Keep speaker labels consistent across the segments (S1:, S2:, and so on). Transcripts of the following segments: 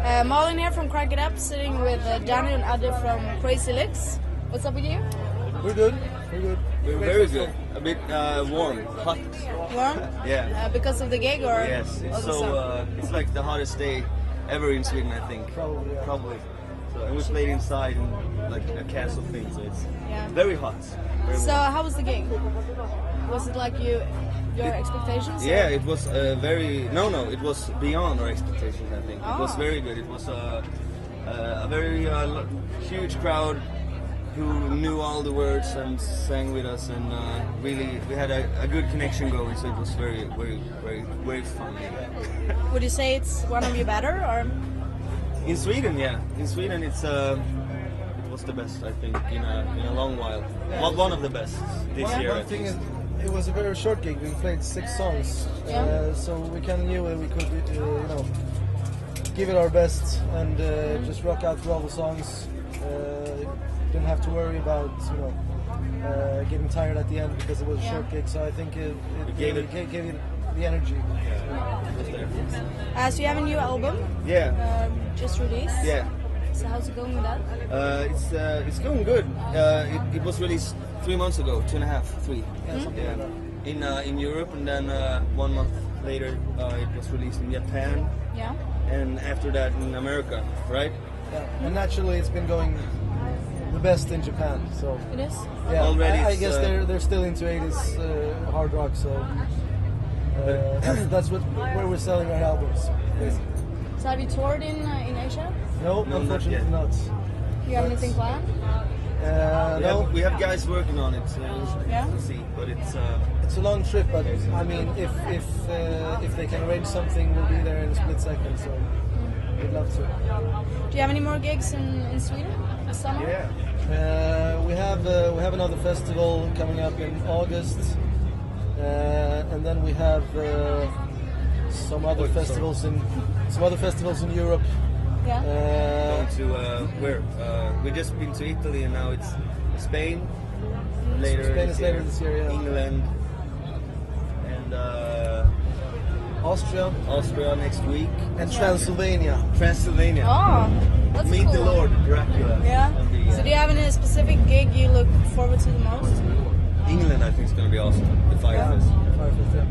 S1: Uh, Marlon here from Crank It Up, sitting with uh, Daniel and Ade from Crazy Licks. What's up with you?
S2: We're good. We're good.
S3: We're very good. A bit uh, warm, hot.
S1: Warm?
S3: Yeah.
S1: Uh, because of the gig or?
S3: Yes.
S1: or
S3: It's
S1: the
S3: so
S1: song?
S3: uh, it's like the hottest day ever in Sweden, I think.
S2: Probably, yeah.
S3: Probably. So, and we played inside in like a castle thing, so it's
S1: Yeah.
S3: very hot. Very
S1: so
S3: warm.
S1: how was the gig? Was it like you, your expectations? or-
S3: Yeah, it was uh, very no, no. It was beyond our expectations. I think it was
S1: Ah.
S2: Oh.
S3: very good. It was a, a, a very uh, lo- huge crowd who knew all the words and sang with us, and uh, really we had a, a good connection going. So it was very, very, very, very fun.
S1: Would you say it's one of your better or?
S3: In Sweden, yeah, in Sweden, it's uh, it was the best I think in a, in a long while. Well, one of the best this
S2: One,
S3: year.
S2: one
S3: at
S2: thing
S3: least.
S2: is, it was a very short gig. We played six songs,
S1: Yeah.
S2: uh, so we kind of knew that we could, uh, you know, give it our best and
S1: Mm-hmm.
S2: uh, just rock out through all the songs. Uh, didn't have to worry about, you know, uh, getting tired at the end because it was a
S1: Yeah.
S2: short gig. So I think it, it,
S3: It gave
S2: really
S3: it-
S2: ga- gave it the energy.
S3: It was there.
S1: Uh, so you have a new album
S3: Yeah,
S1: um, just released.
S3: yeah.
S1: So how's it going with that?
S3: Uh, it's uh, it's going good. Uh, it, it was released three months ago, two and a half, three.
S2: Yeah, something like that.
S3: Yeah. In uh, in Europe, and then uh, one month later, uh, it was released in Japan,
S1: Yeah.
S3: and after that in America, right?
S2: Yeah. And naturally, it's been going the best in Japan. So
S1: It is.
S2: Yeah,
S3: Already
S2: I, I
S3: it's,
S2: guess
S3: uh,
S2: they're they're still into 80s uh, hard rock, so uh, that's, that's what where we're selling our albums. basically.
S1: So have you toured in uh, in Asia?
S2: No,
S3: No, not
S2: unfortunately
S3: yet.
S2: not.
S1: You have anything planned?
S2: Uh,
S3: We
S2: no,
S3: have, we have guys working on it, so
S1: Yeah.
S3: we'll see. But it's uh,
S2: it's a long trip, but I mean, if if uh, if they can arrange something, we'll be there in a split second. So we'd love to.
S1: Do you have any more gigs in, in Sweden this summer?
S3: yeah,
S2: Uh, we have uh, we have another festival coming up in August, uh, and then we have uh, some other
S3: Wait, sorry.
S2: festivals in some other festivals in Europe.
S1: Yeah.
S2: Uh,
S3: going to uh, where uh, we just been to Italy, and now it's Spain. Later,
S2: Spain is later this year, yeah.
S3: England, and uh,
S2: Austria
S3: Austria next week.
S2: and Transylvania.
S3: Transylvania.
S1: Oh, that's a
S3: Meet
S1: cool
S3: the
S1: one.
S3: Lord, Dracula.
S1: Yeah.
S3: On the, uh,
S1: So do you have any specific gig you look forward to the most?
S3: uh, England, I think, is going to be awesome. The Firefest.
S2: Firefest, yeah.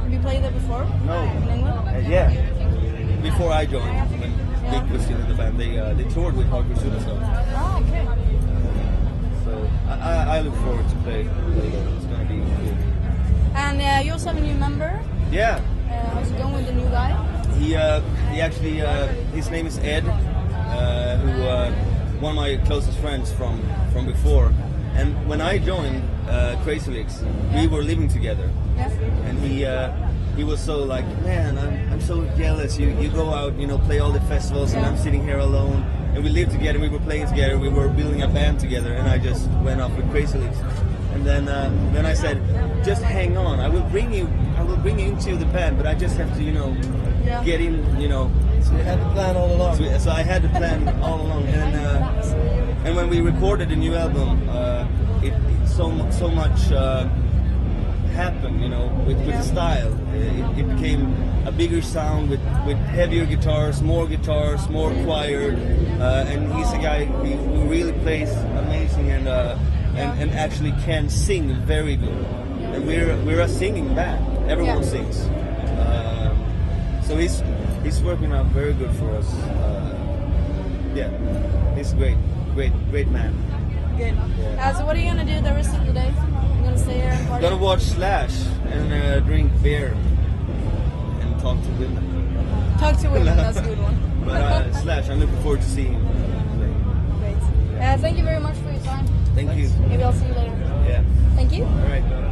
S1: Have you played there before?
S3: No.
S1: In England?
S3: Uh, yeah. Before I joined, when
S1: Yeah.
S3: Dick was still in the band, they uh, they toured with Hardcore Superstar.
S1: Oh, okay.
S3: So I, I, I look forward to play. play there. It's going to be cool.
S1: And uh, you also have a new member.
S3: Yeah.
S1: Uh, how's it going with the new guy?
S3: He uh, he actually uh, his name is Ed, uh, who uh, one of my closest friends from from before. And when I joined uh, Crazy Leaks, we were living together.
S1: Yeah.
S3: and he uh, he was so like, man, I'm, I'm so jealous. You you go out, you know, play all the festivals, and
S1: Yeah.
S3: I'm sitting here alone. And we lived together, we were playing together, we were building a band together, and I just went off with Crazy Leaks. And then uh, then I said, just hang on, I will bring you, I will bring you into the band, but I just have to, you know,
S1: Yeah.
S3: get in, you know.
S2: So we had the plan all along.
S3: So, so I had the plan all along, and uh, and when we recorded the new album, uh, it, it so mu- so much uh, happened, you know, with, with the style. It, it became a bigger sound with, with heavier guitars, more guitars, more choir, uh, and he's a guy who, who really plays amazing and, uh, and and actually can sing very good. And we're we're a singing band. Everyone
S1: Yeah.
S3: sings. Um, so he's he's working out very good for us. Uh, yeah, he's great, great, great man.
S1: Good. Uh, so what are you gonna do the rest of the day? You're gonna stay here and party?
S3: Gotta watch Slash and uh, drink beer and talk to women.
S1: Talk to women. That's a good one.
S3: But uh, Slash, I'm looking forward to seeing him.
S1: Great. Uh, thank you very much for your time.
S3: Thank you.
S1: Maybe I'll see you later.
S3: Yeah.
S1: Thank you.
S3: All right.